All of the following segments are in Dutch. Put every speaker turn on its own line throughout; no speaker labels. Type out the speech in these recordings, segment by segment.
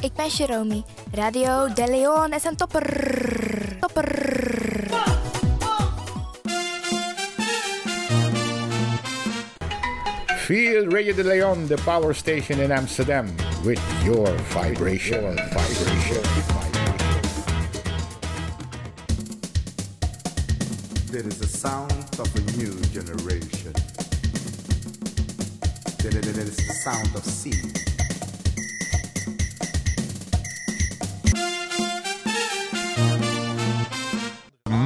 Ik ben Jeromy. Radio De Leon is een topper. Topper.
Feel Radio de Leon, the power station in Amsterdam, with your vibration. vibration.
There is a sound of a new generation. There there- there is the sound of sea.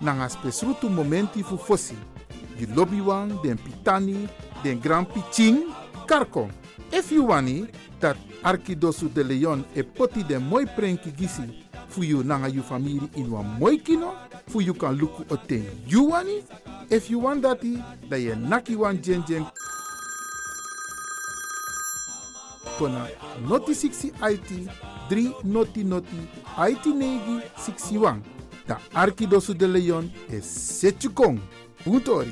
nanga spesrutu momenti fu fossi. Di lobby wan, den pitani, den grand pitching, karko. If you wani, dat Arquidosu de Leon e poti den moi prenki gisi, fu you nanga you famiri in wan moi kino, fu you kan luku oten you wani, if you want dati, da ye naki wan jen jen kona noti 60 IT 3 noti noti IT negi 61. Da Arquidosu de Leon e Setchukong. Puntori.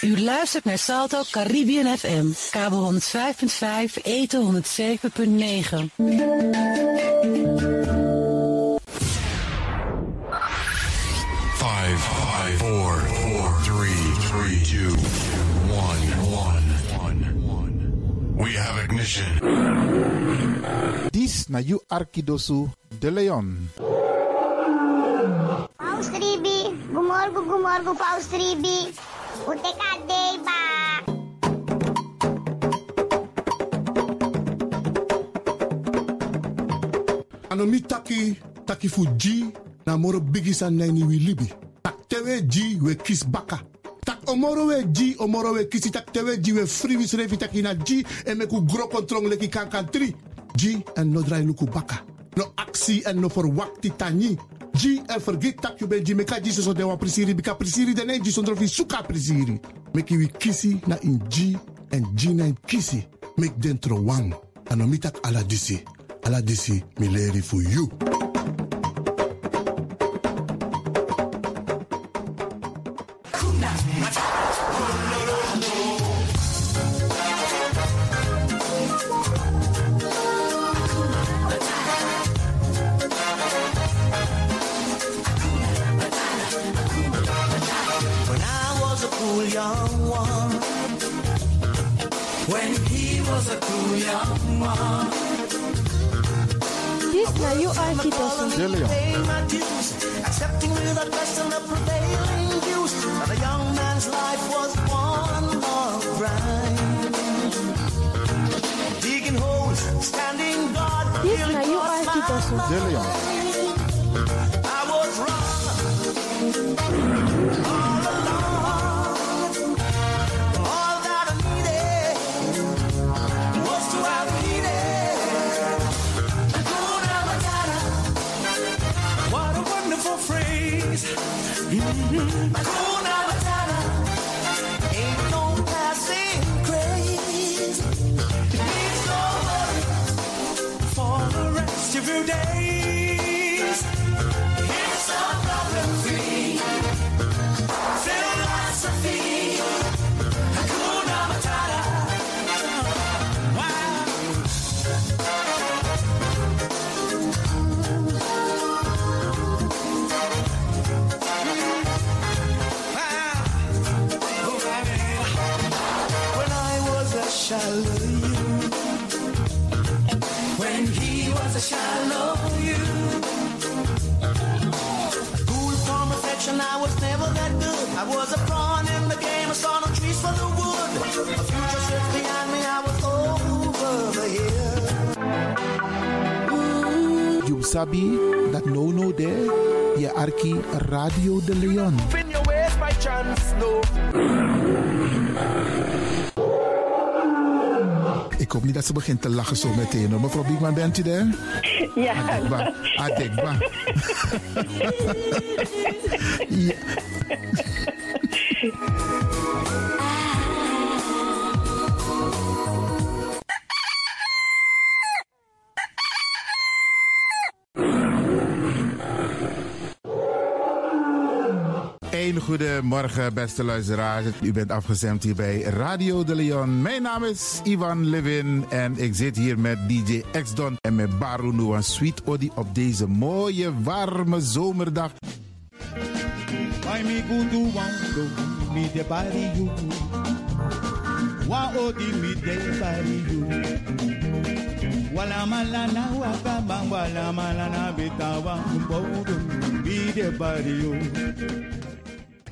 U luistert naar Salto Caribbean FM, kabel 105.5, eten 107.9.
Five, five, four, four, three, three, two, one, one, one. We have ignition.
Dis na you Arquidosu de Leon.
Paus Ribi, gumorgo, gumorgo, Paus Ribi. O Tecadeiba.
ano mi taki taki fu ji na moro bigis an naini wi libi tak tewe ji we kis baka tak omoro we ji omoro we kisi tak tewe ji we free wi srevi taki na ji e meku gro kontrong leki kankan tri ji en no drai luku baka no aksi en no forwakti tani ji en forget tak yu ben ji meka ji so dewa prisiri bika prisiri dene ji sondro fi suka prisiri meki wi kisi na in ji en ji na in kisi mek dentro wang ano mi tak ala disi Ala disi mi leri fu you.
When I was a cool young one, when he was a cool young one,
Dit naar jouw Arkidosu.
De Leon.
paying my dues, accepting without question the prevailing views. And a young man's life was one long grind. Digging holes, standing guard,
Dit
feeling
naar jouw Arkidosu.
De Leon.
I was wrong. All that I needed was to have needed. Hakuna Matata. What a wonderful phrase. Mm-hmm. Hakuna Matata. Ain't no passing craze. Need no worry for the rest of your days. It's a problem-free philosophy. Hakuna Matata. Wow.
I was a pawn in the game, I saw no trees for the wood. The future sits behind me, I was over the hill.
You sabi that no no there. Je arki Radio de Leon.
Spin your ways by chance, no.
Ik hoop niet dat ze begint te lachen zo meteen. hoor. Mevrouw Biekman, bent u daar?
Ja.
Adekba. Adekba. ja.
Een goedemorgen, beste luisteraars. U bent afgestemd hier bij Radio de Leon. Mijn naam is Ivan Levin en ik zit hier met DJ X-Don en met Baru Nuan Sweet Odi op deze mooie, warme zomerdag.
Why me go to one go me the body you Wa odi me the body you Wala malana waka bang wala malana bitawa mbodo me the body you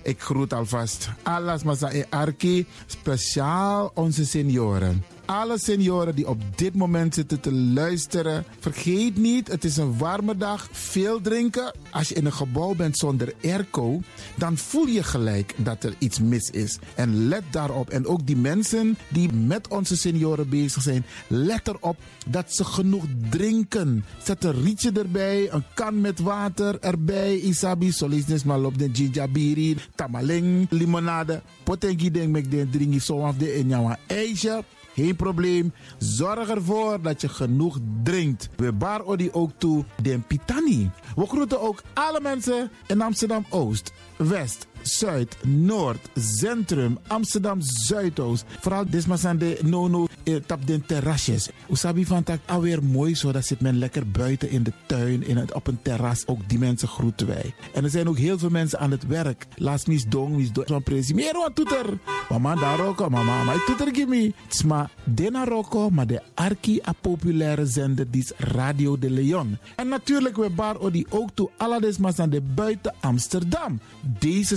Ik groet alvast Alas Masa e Arki, speciaal onze senioren. Alle senioren die op dit moment zitten te luisteren, vergeet niet, het is een warme dag, veel drinken. Als je in een gebouw bent zonder airco, dan voel je gelijk dat er iets mis is. En let daarop. En ook die mensen die met onze senioren bezig zijn, let erop dat ze genoeg drinken. Zet een rietje erbij, een kan met water erbij. Isabi, solisnes malop den jinjabiri, tamaling, limonade. Potengi ding mek den dringi zo af de enjawa ijsje. Geen probleem. Zorg ervoor dat je genoeg drinkt. We bar odi ook toe den pitani. We groeten ook alle mensen in Amsterdam Oost, West, Zuid, Noord, Centrum, Amsterdam Zuidoost. Vooral desma zijn de nono eh, tap den terrasjes. Usabi van tak alweer mooi zo. Dat zit men lekker buiten in de tuin, in het, op een terras. Ook die mensen groeten wij. En er zijn ook heel veel mensen aan het werk. Laatst mis dong, mis dong. Van presi. Meer wat toeter. Mama daar ook, mama. Maar toeter gimme. Tsma dena roko, maar de arki a populaire zender die is Radio de Leon. En natuurlijk we bar odi ook toe alades mas aan de buiten Amsterdam. Deze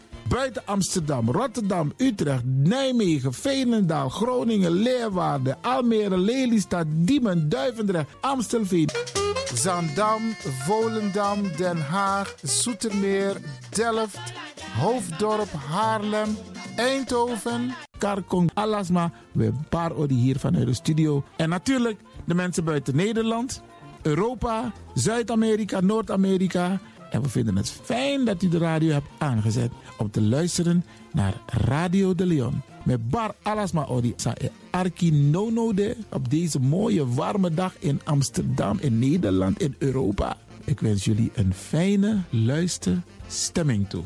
buiten Amsterdam, Rotterdam, Utrecht, Nijmegen, Veenendaal, Groningen, Leeuwarden, Almere, Lelystad, Diemen, Duivendrecht, Amstelveen. Zandam, Volendam, Den Haag, Zoetermeer, Delft, Hoofddorp, Haarlem, Eindhoven, Karkong, Alasma. We parodi hier vanuit de studio. En natuurlijk de mensen buiten Nederland, Europa, Zuid-Amerika, Noord-Amerika. En we vinden het fijn dat u de radio hebt aangezet om te luisteren naar Radio de Leon. Met Bar Alasma Odi Sae Arki Nonode op deze mooie warme dag in Amsterdam, in Nederland, in Europa. Ik wens jullie een fijne luisterstemming toe.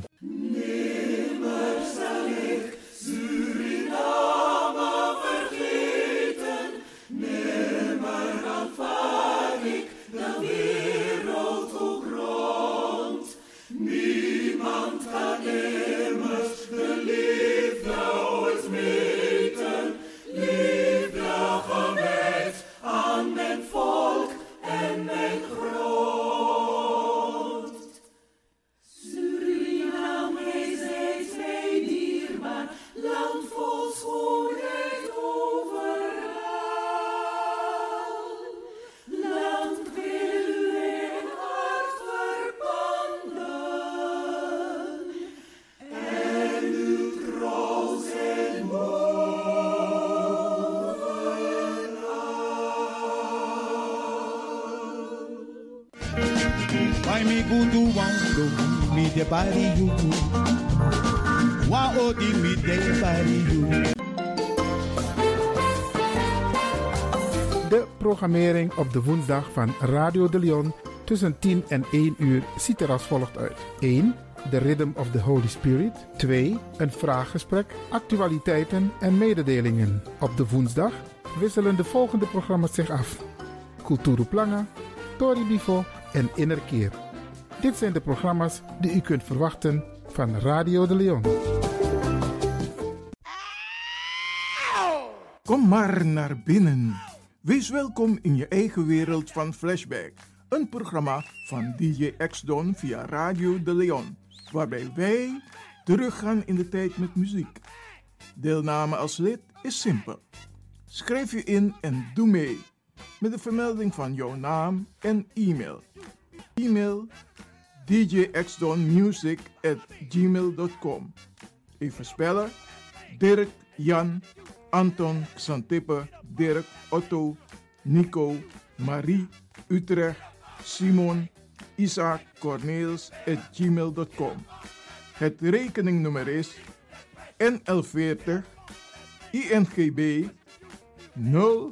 Why me go to one go me the body you Wa odi me the body you
De programmering op de woensdag van Radio de Leon tussen 10 en 1 uur ziet er als volgt uit. 1. De Rhythm of the Holy Spirit. 2. Een vraaggesprek, actualiteiten en mededelingen. Op de woensdag wisselen de volgende programma's zich af. Culturu Planga, Tori Bifo en Innerkeer. Dit zijn de programma's die u kunt verwachten
van Radio de Leon.
Kom maar naar binnen. Wees welkom in je eigen wereld van Flashback. Een programma van DJ X-Don via Radio De Leon. Waarbij wij teruggaan in de tijd met muziek. Deelname als lid is simpel. Schrijf je in en doe mee. Met de vermelding van jouw naam en e-mail. E-mail djxdonmusic at gmail.com Even spellen. Dirk, Jan, Anton, Xantippe, Dirk, Otto, Nico, Marie, Utrecht, Simon, Isaac, Corneels at gmail.com Het rekeningnummer is NL40 INGB 0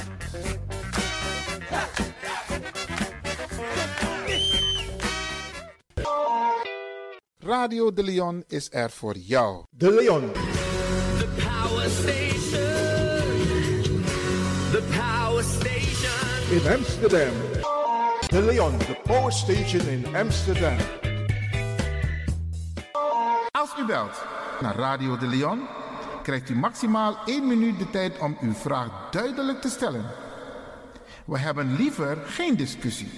Radio de Leon is er voor jou.
De Leon.
The power station. The power station.
in Amsterdam. De Leon, the power station in Amsterdam.
Als u belt naar Radio de Leon, krijgt u maximaal 1 minuut de tijd om uw vraag duidelijk te stellen. We hebben liever geen discussie.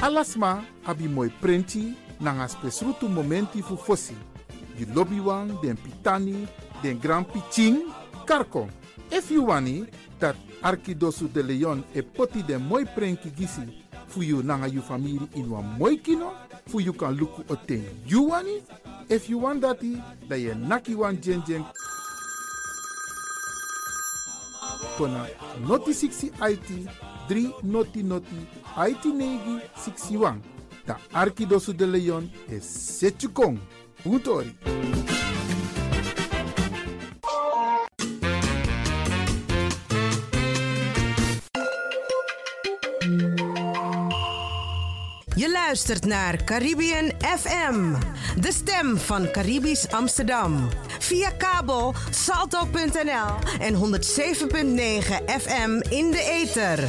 Alasma, abi moi printi, nanga spesrutu momenti fu fossi. You lobby wan, den pitani, den grand piching, karko. If you wani, dat arkidosu de leon e poti den moi prenki gisi, fu you nanga you famiri in wan moi kino, fu you kan luku oten you wani, if you want dati, da ye naki wan jen jen kona noti 60 IT 3 noti noti IT negi 61. Da Arquidoso de Leon e Setchukong. Butori.
Je luistert naar Caribbean FM, de stem van Caribisch Amsterdam. Via kabel salto.nl en 107.9 FM in de ether.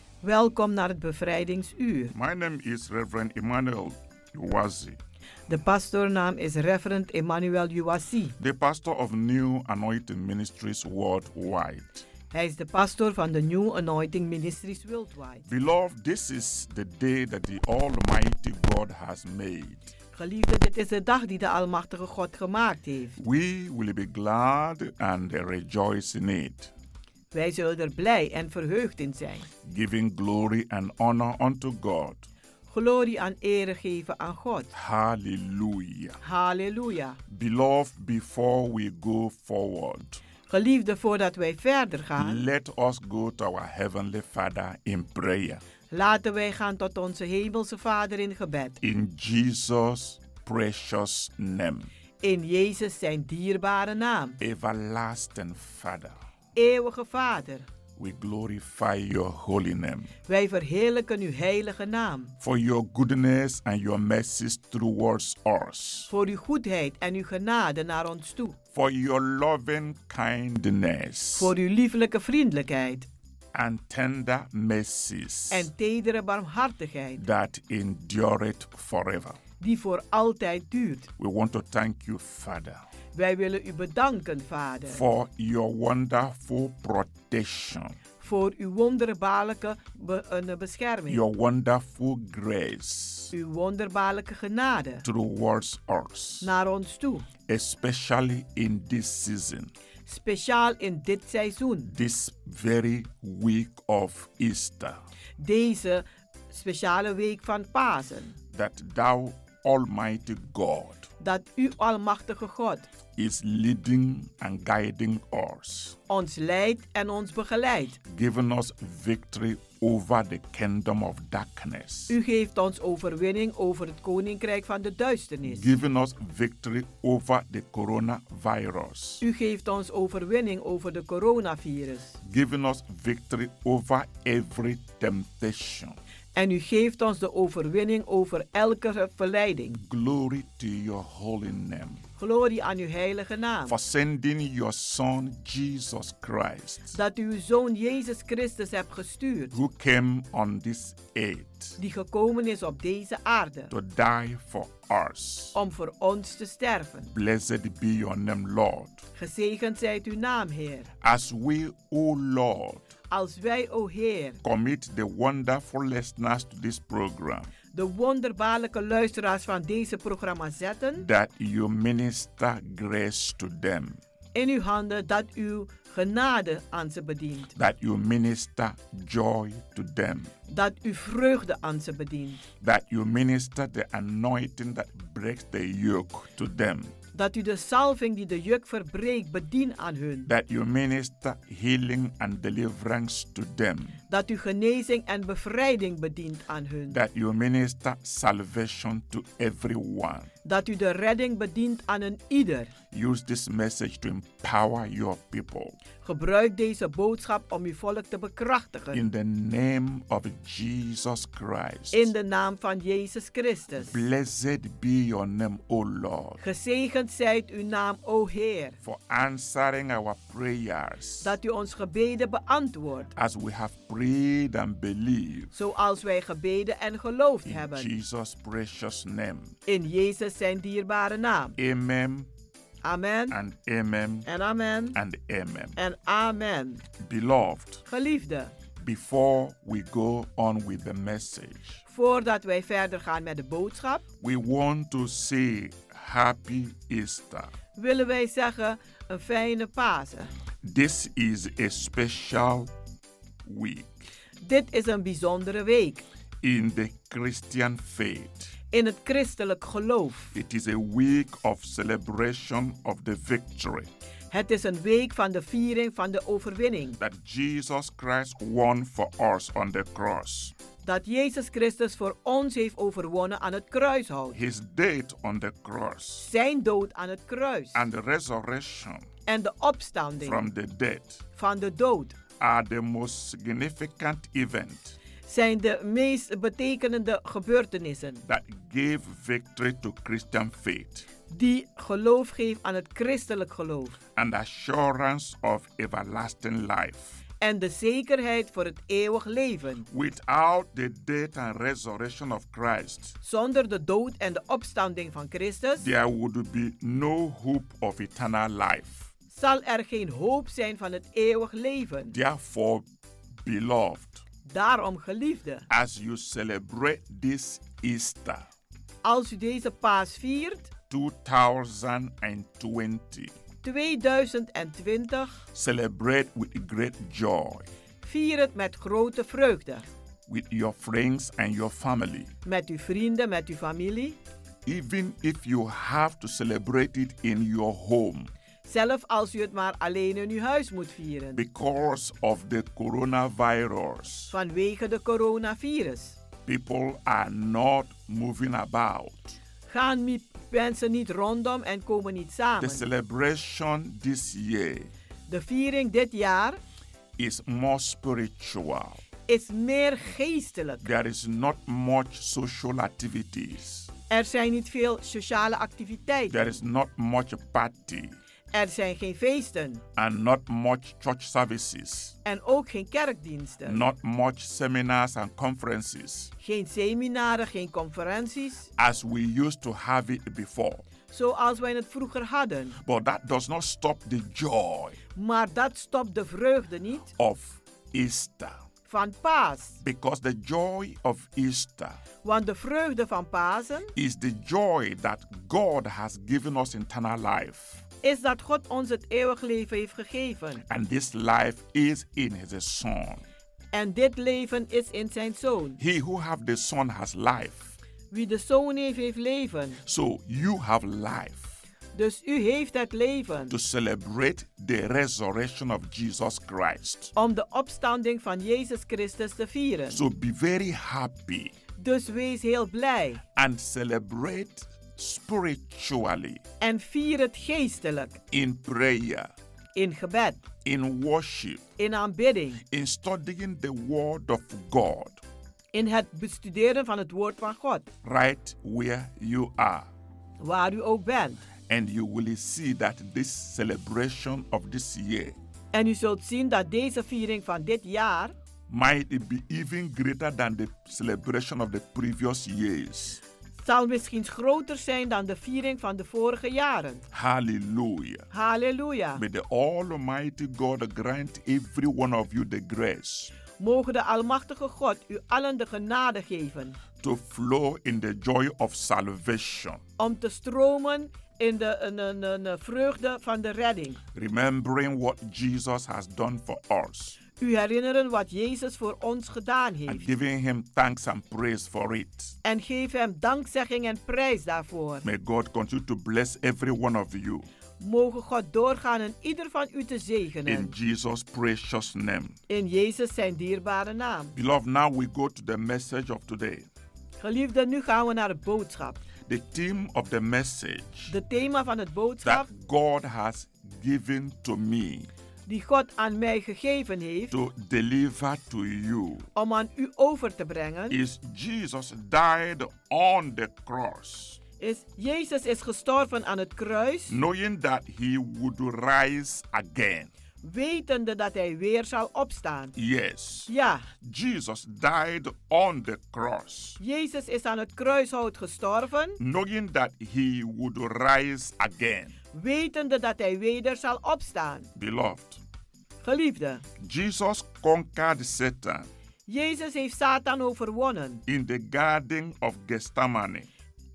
welkom naar het bevrijdingsuur.
My name is Reverend Emmanuel Uwazi,
De pastoornaam is Reverend Emmanuel Uwasi.
the pastor of New Anointing Ministries worldwide.
Hij is de pastoor van de New Anointing Ministries Worldwide.
Beloved, this is the day that the Almighty God has made.
Geliefde, dit is de dag die de Almachtige God gemaakt heeft.
We will be glad and rejoice in it,
Wij zullen er blij en verheugd in zijn.
giving glory and honor unto God.
Glorie aan ere geven aan God.
Hallelujah.
Halleluja.
Beloved, before we go forward,
Geliefde, voordat wij verder gaan,
Let us go to our Heavenly Father in prayer.
laten wij gaan tot onze Hemelse Vader in gebed.
In Jesus' precious name.
In Jezus zijn dierbare naam.
Everlasting Father,
Eeuwige Vader,
we glorify your holy name.
wij verheerlijken uw heilige naam.
For your goodness and your mercies towards us.
Voor uw goedheid en uw genade naar ons toe.
For your loving kindness.
Voor uw lieflijke vriendelijkheid
and tender mercies
en tedere barmhartigheid
that endureth forever.
die voor altijd duurt.
We want to thank you, Father,
Wij willen u bedanken, Vader,
for your wonderful protection,
voor uw wonderbaarlijke be- eh, bescherming.
your wonderful grace
Uw wonderbaarlijke genade
towards us,
naar ons toe.
especially in this season,
Speciaal in dit seizoen,
this very week of Easter,
deze speciale week van Pasen,
that thou, Almighty God,
dat u Almachtige God
is leading and guiding us,
ons leidt en ons begeleidt.
giving us victory over the kingdom of darkness.
U geeft ons overwinning over het koninkrijk van de duisternis.
giving us victory over the coronavirus,
U geeft ons overwinning over de coronavirus.
giving us victory over every temptation.
En u geeft ons de overwinning over elke verleiding.
Glory to your holy name
Glorie aan uw heilige naam.
for sending your Son Jesus Christ,
Dat u uw zoon Jezus Christus hebt gestuurd,
who came on this earth
die gekomen is op deze aarde
to die for us.
om voor ons te sterven.
Blessed be your name, Lord.
Gezegend zijt uw naam, Heer.
As we, O Lord,
Als wij, o Heer,
commit the wonderful listeners to this program,
de wonderbaarlijke luisteraars van deze programma zetten,
that you minister grace to them.
in uw handen dat uw genade aan ze bedient.
that you minister joy to them,
Dat uw vreugde aan ze bedient.
that you minister the anointing that breaks the yoke to them,
Dat u de salving die de juk verbreekt bedient aan hun.
that you minister healing and deliverance to them,
Dat u genezing en bevrijding bedient aan hun.
that you minister salvation to everyone.
Dat u de redding bedient aan een ieder.
Use this message to empower your people.
Gebruik deze boodschap om uw volk te bekrachtigen.
In the name of Jesus Christ.
In de naam van Jezus Christus.
Blessed be your name, O Lord,
Gezegend zijt uw naam, o Heer.
for answering our prayers
Dat u ons gebeden beantwoordt.
as we have prayed and believed.
Zoals wij gebeden en geloofd
In
hebben.
Jesus' precious name.
In Jezus zijn dierbare naam.
Amen
Amen.
and amen
En amen.
and amen.
En amen.
Beloved,
Geliefde,
before we go on with the message,
voordat wij verder gaan met de boodschap,
we want to say Happy Easter.
willen wij zeggen een fijne Pasen.
This is a special week
Dit is een bijzondere week
in the Christian faith.
in het christelijk geloof.
It is a week of celebration of the victory
Het is een week van de viering van de overwinning
that Jesus Christ won for us on the cross.
dat Jezus Christus voor ons heeft overwonnen aan het kruishout.
His death on the cross
Zijn dood aan het kruis
and the resurrection
en de
from
opstanding
the dead
van de dood
are the most significant event
zijn de meest betekenende gebeurtenissen
that gave victory to Christian faith
die geloof geeft aan het christelijk geloof
and assurance of everlasting life.
en de zekerheid voor het eeuwig leven.
Without the death and resurrection of Christ,
Zonder de dood en de opstanding van Christus
there would be no hope of eternal life.
zal er geen hoop zijn van het eeuwig leven.
Therefore, beloved,
Daarom, geliefde,
as you celebrate this Easter
als u deze paas viert,
2020,
2020,
celebrate with great joy.
vier het met grote vreugde.
with your friends and your family.
Met uw vrienden, met uw familie.
Even if you have to celebrate it in your home,
Zelf als u het maar alleen in uw huis moet vieren.
Because of the coronavirus,
Vanwege de coronavirus
people are not moving about.
gaan mi- mensen niet rondom en komen niet
The
samen.
celebration this year
De viering dit jaar
is more spiritual.
is meer geestelijk.
There is not much social activities.
Er zijn niet veel sociale activiteiten.
There is not much party
Er zijn geen feesten
and not much church services.
en ook geen kerkdiensten.
Not much seminars and conferences
Geen seminaren, geen conferenties,
as we used to have it before.
zoals wij het vroeger hadden.
But that does not stop the joy
Maar dat stopt de vreugde niet
of Easter
van Paas.
because the joy of Easter
Want de vreugde van Pasen
is the joy that God has given us eternal life.
is dat God ons het eeuwig leven heeft gegeven.
And this life is in his son.
En dit leven is in zijn zoon.
He who have the son has life.
Wie de zoon heeft, heeft leven.
So you have life
Dus u heeft het leven
to celebrate the resurrection of Jesus Christ.
om de opstanding van Jezus Christus te vieren.
So be very happy
Dus wees heel blij
and celebrate spiritually
en vier het geestelijk
in prayer,
in gebed,
in worship,
in aanbidding,
in studying the word of God
in het bestuderen van het woord van God,
right where you are.
waar u ook bent.
And you will see that this celebration of this year
En u zult zien dat deze viering van dit jaar
might be even greater than the celebration of the previous years.
zal misschien groter zijn dan de viering van de vorige jaren.
Hallelujah.
Halleluja.
May the Almighty God grant every one of you the grace
Mogen de Almachtige God u allen de genade geven
to flow in the joy of salvation,
om te stromen in de een- een- een- een vreugde van de redding.
remembering what Jesus has done for us
U herinneren wat Jezus voor ons gedaan
and
heeft.
giving Him thanks and praise for it.
En geef hem dankzegging en prijs daarvoor.
May God continue to bless every one of you
Mogen God doorgaan en ieder van u te
in
zegenen.
Jesus' precious name.
In Jezus zijn dierbare naam.
Beloved, now we go to the message of today.
Geliefden, nu gaan we naar de boodschap.
The theme of the message
De thema van het boodschap
that God has given to me
die God aan mij gegeven heeft
to deliver to you
om aan u over te brengen
is Jesus died on the cross,
is Jezus is gestorven aan het kruis,
knowing that he would rise again.
wetende dat hij weer zal opstaan.
Yes,
Ja,
Jesus died on the cross,
Jezus is aan het kruishout gestorven,
knowing that he would rise again.
wetende dat hij weder zal opstaan.
Beloved,
Geliefde,
Jesus conquered Satan
Jezus heeft Satan overwonnen.
in the Garden of Gethsemane.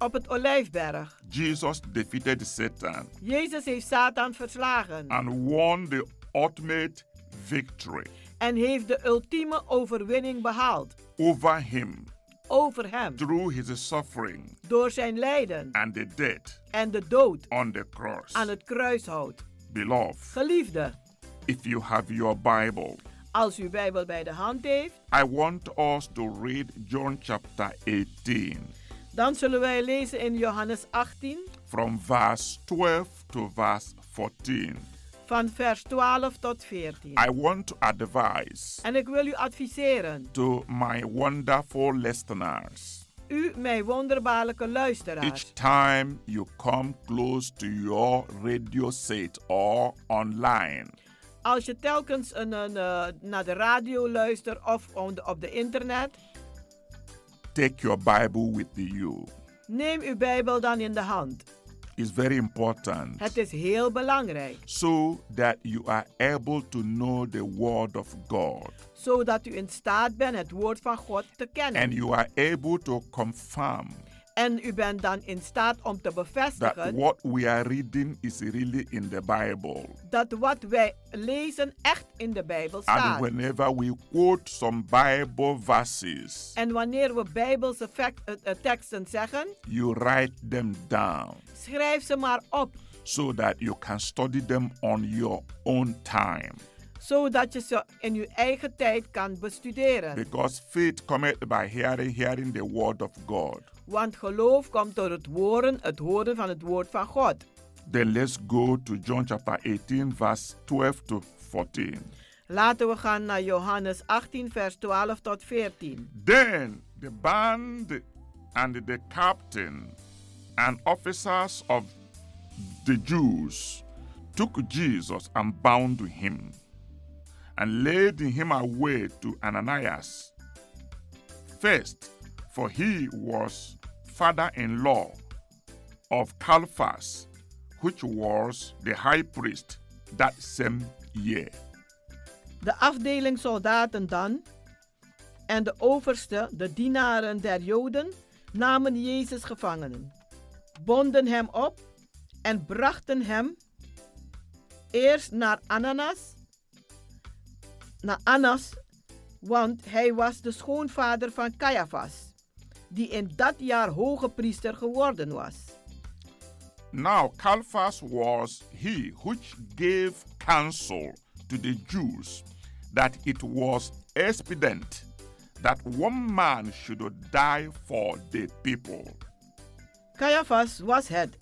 Op het Olijfberg.
Jesus defeated Satan
Jezus heeft Satan verslagen
and won the ultimate victory
en heeft de ultieme overwinning behaald
over him
over hem
through his suffering
door zijn lijden
and the death
en de dood
on the cross.
aan het kruishout.
Beloved,
Geliefde,
if you have your Bible,
als u Bijbel bij de hand heeft,
I want us to read John chapter 18
dan zullen wij lezen in Johannes 18
from verse 12 to verse 14.
van vers 12 tot 14.
I want to advise
En ik wil u adviseren,
to my wonderful listeners
u, mijn wonderbaarlijke luisteraars,
each time you come close to your radio set or online,
als je telkens een, een, eh, naar de radio luistert of on de- op de internet,
take your Bible with you.
neem uw Bijbel dan in de hand.
It's very important.
Het is heel belangrijk,
so that you are able to know the Word of God
zodat u in staat bent het woord van God te kennen.
and you are able to confirm
En u bent dan in staat om te
that
bevestigen
what we are reading is really in the Bible.
dat wat wij lezen echt in de Bijbel
And
staat.
whenever we quote some Bible verses,
En wanneer we Bijbelse fact- eh, eh, teksten zeggen,
you write them down
schrijf ze maar op
so that you can study them on your own time.
zodat je ze in je eigen tijd kan bestuderen.
Because faith cometh by hearing, hearing the word of God.
Want geloof komt door het horen, het horen van het woord van God.
Then let's go to John chapter 18, verse 12 to 14.
Laten we gaan naar Johannes 18, vers 12 tot 14.
Then the band and the captain and officers of the Jews took Jesus and bound him and laid him away to Ananias. First, for he was father in law of Caiaphas, which was the high priest that same year.
De afdeling soldaten dan en de overste, de dienaren der Joden, namen Jezus gevangenen, bonden hem op en brachten hem eerst naar Ananas, naar Annas, want hij was de schoonvader van Caiaphas, die in dat jaar hoge priester geworden was.
Now Caiaphas was he which gave counsel to the Jews that it was expedient that one man should die for the people.
Caiaphas was het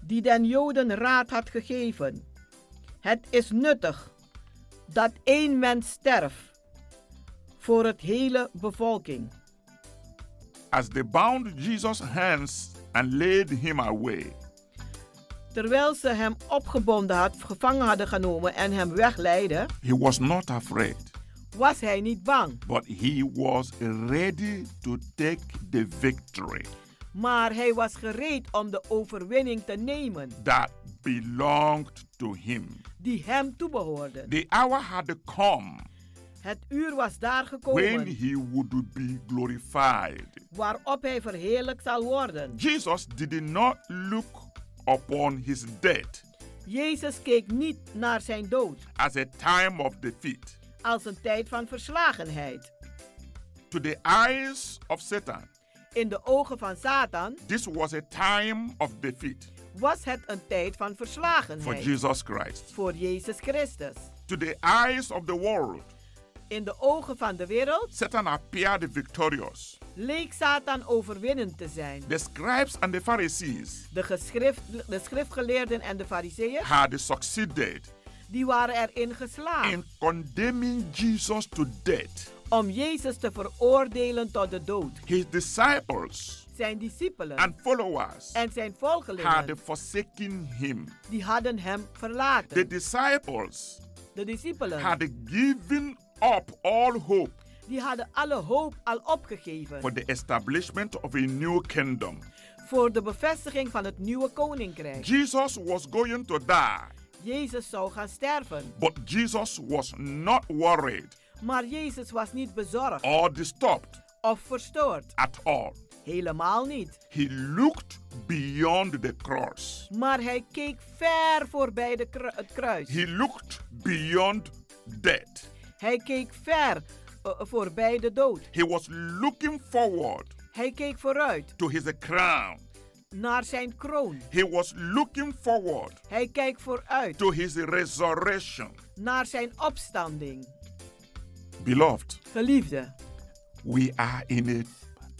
die den Joden raad had gegeven. Het is nuttig dat één mens sterft voor het hele bevolking.
As they bound Jesus' hands and laid him away,
Terwijl ze hem opgebonden had, gevangen hadden genomen en hem wegleidden,
he was not afraid,
was hij niet bang.
but he was ready to take the victory
Maar hij was gereed om de overwinning te nemen
that belonged to him.
die hem toebehoorde.
The hour had come
Het uur was daar
when
gekomen
he would be glorified.
waarop hij verheerlijk zal worden.
Jesus did not look upon his death
Jezus keek niet naar zijn dood
as a time of defeat.
als een tijd van verslagenheid.
To the eyes of Satan,
In de ogen van Satan
this was a time of defeat
was het een tijd van
for
verslagenheid
Jesus Christ.
voor Jezus Christus.
To the eyes of the world,
In de ogen van de wereld
Satan appeared victorious.
leek Satan overwinnend te zijn.
The scribes and the Pharisees
De, geschrift, de schriftgeleerden en de fariseeën
had succeeded
die waren erin geslaagd
in condemning Jesus to death.
om Jezus te veroordelen tot de dood.
His disciples
Zijn discipelen
and followers
en zijn volgelingen
had forsaken him.
die hadden hem verlaten.
The disciples
De discipelen
had given up all hope
die hadden alle hoop al opgegeven
for the establishment of a new kingdom.
voor de bevestiging van het nieuwe koninkrijk.
Jesus was going to die,
Jezus zou gaan sterven,
but Jesus was not worried
maar Jezus was niet bezorgd
or disturbed
of verstoord.
at all.
Helemaal niet.
He looked beyond the cross,
Maar hij keek ver voorbij de kru- het kruis.
he looked beyond death.
Hij keek ver eh, voorbij de dood.
He was looking forward
Hij keek vooruit
to his crown,
naar zijn kroon.
he was looking forward
Hij kijkt vooruit
to his resurrection.
naar zijn opstanding.
Beloved,
Geliefde,
we are in an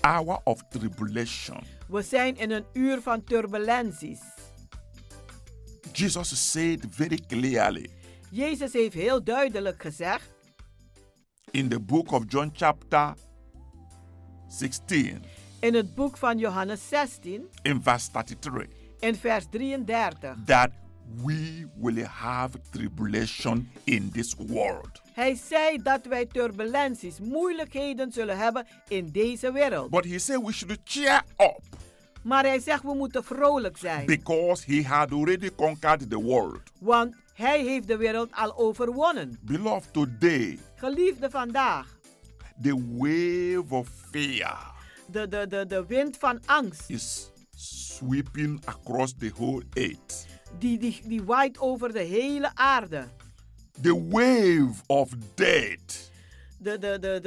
hour of tribulation.
we zijn in een uur van turbulenties.
Jesus said very clearly
Jezus heeft heel duidelijk gezegd
in the book of John, chapter 16,
in het boek van Johannes 16
in verse 33,
in vers 33.
that we will have tribulation in this world.
Hij zei dat wij turbulenties, moeilijkheden zullen hebben in deze wereld.
But he said we should cheer up
Maar hij zegt we moeten vrolijk zijn,
because he had already conquered the world.
want hij heeft de wereld al overwonnen.
Beloved, today,
Geliefde vandaag,
the wave of fear
de, de, de, de wind van angst
is sweeping across the whole earth.
die, die, die waait over de hele aarde.
The wave of death
De, de, de, de,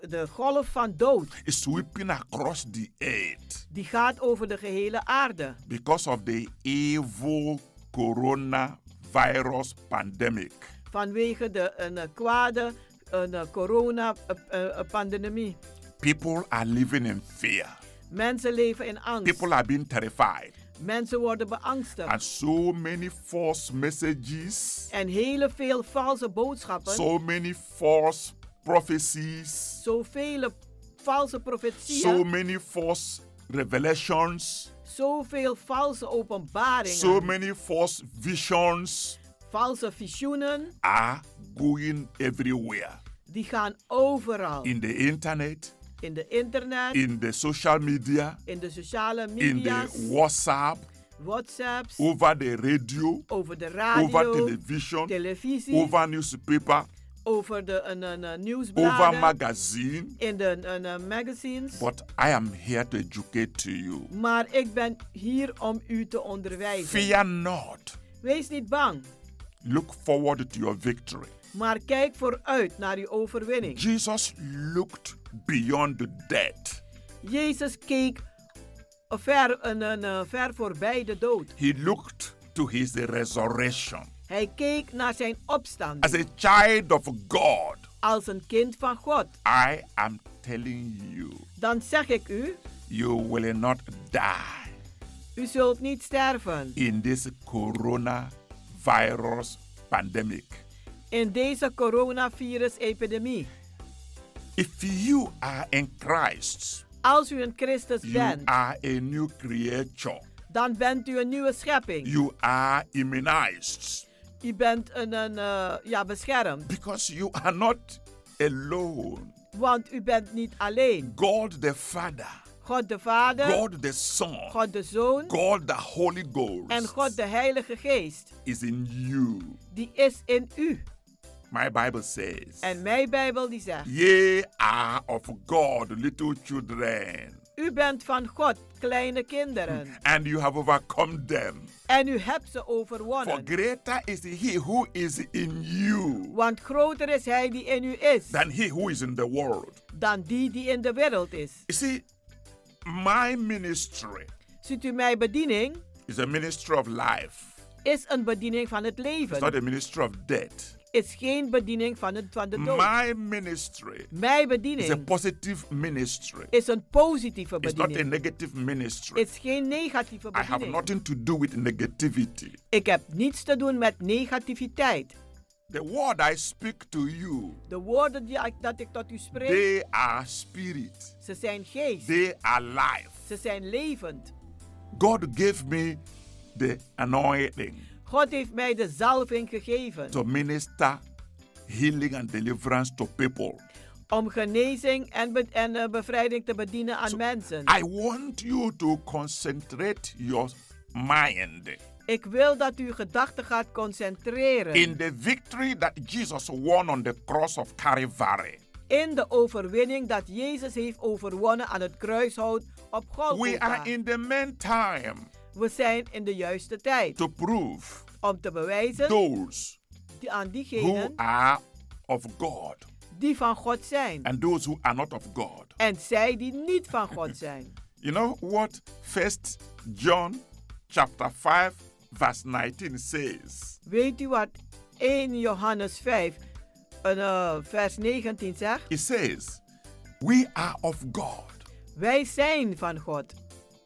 de, de golf van dood
is sweeping across the earth
die gaat over de gehele aarde
because of the evil coronavirus pandemic.
vanwege de een eh, kwade eh, corona-pandemie.
People are living in fear.
Mensen leven in angst.
People are being terrified.
Mensen worden beangstigd.
And so many false messages,
En heel veel valse boodschappen.
so many false prophecies,
Zoveel valse profetieën.
so many false revelations,
Zoveel valse openbaringen.
so many false visions
valse visioenen.
are going everywhere.
Die gaan overal.
In the internet,
In de internet.
in the social media,
in de sociale
in the
media's.
WhatsApp,
WhatsApps.
over the radio,
over de radio.
over television,
televisie.
over newspaper,
over de een, een, een nieuwsbladen.
over magazine.
in de een, een magazines.
But I am here to educate to you.
Maar ik ben hier om u te onderwijzen.
Fear not.
Wees niet bang,
Look forward to your victory.
maar kijk vooruit naar uw overwinning.
Jesus looked beyond the death.
Jezus keek ver, een, een, een, ver voorbij de dood.
He looked to his resurrection.
Hij keek naar zijn opstand
As a child of God,
als een kind van God.
I am telling you,
Dan zeg ik u,
you will not die
u zult niet sterven
in this coronavirus pandemic.
in deze coronavirus-epidemie.
If you are in Christ,
Als u een Christus
you
bent,
are a new creature.
dan bent u een nieuwe schepping.
You are immunized
U bent een, een, eh, ja, beschermd,
because you are not alone.
want u bent niet alleen.
God the Father,
God de Vader,
God the Son,
God de Zoon
God the Holy Ghost
en God de Heilige Geest.
is in you.
Die is in u.
My Bible says,
En mijn Bijbel die zegt,
Ye are of God, little children,
u bent van God, kleine kinderen.
and you have overcome them.
En u hebt ze
For
overwonnen.
greater is he who is in you
Want groter is Hij die in u is
than he who is in the world.
dan die die in de wereld is.
You see, my ministry
Ziet u, mijn bediening
is a ministry of life,
is een bediening van het
it's not a
leven.
ministry of death.
Is geen bediening van, het, van de dood.
My ministry
Mijn
is a
bediening
positive ministry,
is een positieve
it's not a
bediening.
negative ministry.
Is geen negatieve
I have
bediening.
nothing to do with negativity.
Ik heb niets te doen met negativiteit.
The word I speak to you,
De woorden die ik, dat ik tot u spreek,
they are spirit,
ze zijn geest.
they are life.
Ze zijn levend.
God gave me the anointing
God heeft mij de zalving gegeven
to minister healing and deliverance to people.
om genezing en, be- en eh, bevrijding te bedienen aan mensen.
I want you to concentrate your mind
Ik wil dat u uw gedachten gaat concentreren
in the victory that Jesus won on the cross of Calvary.
in de overwinning dat Jezus heeft overwonnen aan het kruishout op
We
Golgotha.
are in the main time
We zijn in de juiste tijd
to prove
om te bewijzen
those
die- aan
who
diegenen
are of God
die van God zijn
and those who are not of God.
en zij die niet van God zijn.
You know what First John chapter 5 verse 19 says?
Weet u wat 1 Johannes 5, en, eh, vers 19 zegt?
It says, "We are of God.
Wij zijn van God.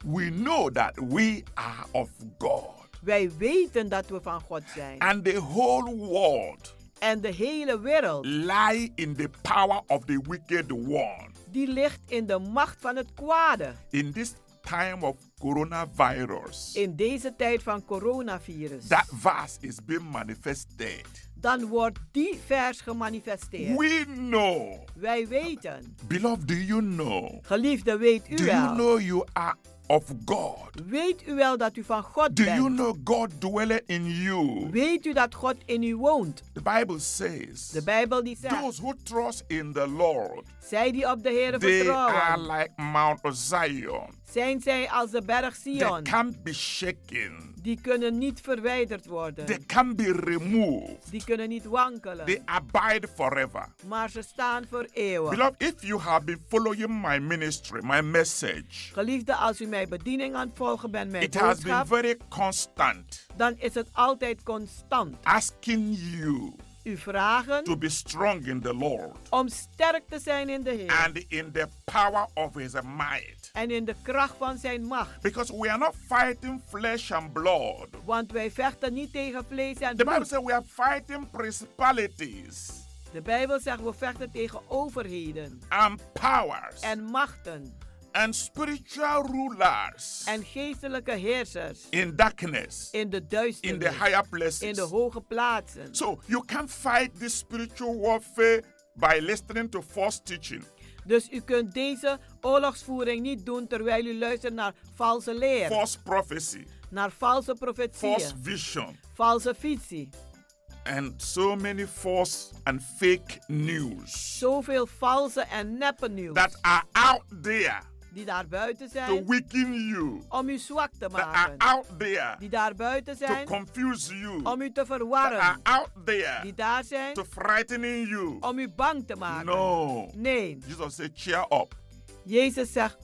We know that we are of God,
Wij weten dat we van God zijn.
and the whole world
En de hele wereld,
lie in the power of the wicked one."
die ligt in de macht van het kwade.
In this time of coronavirus,
In deze tijd van coronavirus.
that verse is being manifested.
Dan wordt die vers gemanifesteerd.
We know,
Wij weten.
beloved, do you know?
Geliefde, weet u
Do you
wel.
know you are of God?
Weet u wel dat u van God
Do you
bent.
know God dwelleth in you?
Weet u dat God in u woont.
The Bible says,
De Bijbel die zegt.
those who trust in the Lord,
Zij die op de Heer
they are
vertrouwen.
like Mount Zion,
zijn zij als de berg
They
Sion.
can't be shaken.
Die kunnen niet verwijderd
They
worden.
can be removed.
Die kunnen niet wankelen.
They abide forever.
Maar ze staan voor eeuwen.
Beloved, if you have been following my ministry, my message,
Geliefde, als u mijn bediening aan het volgen bent, mijn
it has been
boodschap,
very constant,
dan is het altijd constant.
asking you
U vragen
to be strong in the Lord
om sterk te zijn in de Heer
and in the power of His might.
en in de kracht van zijn macht.
Because we are not fighting flesh and blood.
Want wij vechten niet tegen vlees en
The Bible
bloed.
says we are fighting principalities
De Bijbel zegt we vechten tegen overheden
and powers
en machten
and spiritual rulers
en geestelijke heersers
in darkness,
in de
in the
duisternis,
higher places.
in de hoge plaatsen.
So you can't fight this spiritual warfare by listening to false teaching.
Dus u kunt deze oorlogsvoering niet doen terwijl u luistert naar valse leer,
false prophecy,
naar valse
false
profetieën,
vision,
valse visie.
and so many false and fake news
Zoveel valse en neppe nieuws
that are out there
die daar buiten
to
zijn
weaken you,
om u zwak te
that are
maken.
out there
Die daar buiten
to
zijn
confuse you,
om u te
that are
verwarren.
out there
Die daar zijn
to frightening you.
om u bang te maken.
No.
Nee,
Jesus said, cheer up,
Jezus zegt